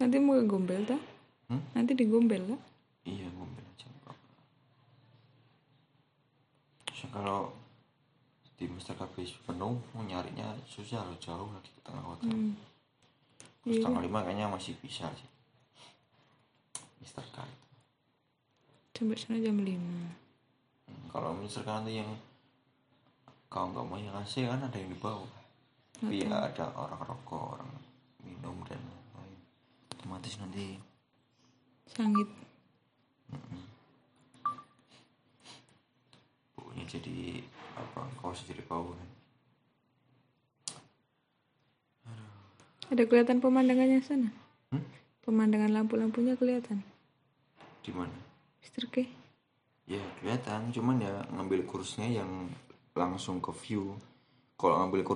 Nanti mau gombel tak? Hmm? Nanti digombel tak? Iya, gue bilang cengkok. Terus kalau di Mr. KB penuh, mau nyarinya susah loh, jauh lagi ke tengah kota. Hmm, Terus tanggal lima kayaknya masih bisa sih. Mr. K itu. Sampai sana jam 5. Hmm, Kalau Mr. K nanti yang kalau nggak mau yang AC kan ada yang di bawah. Tapi ya ada orang rokok, orang minum dan lain-lain. Otomatis nanti Sangit. baunya jadi apa kaos jadi bau kan. Ada kelihatan pemandangannya sana? Hmm? Pemandangan lampu-lampunya kelihatan. Di mana? Mr. K. Ya kelihatan, cuman ya ngambil kursnya yang langsung ke view. Kalau ngambil kurs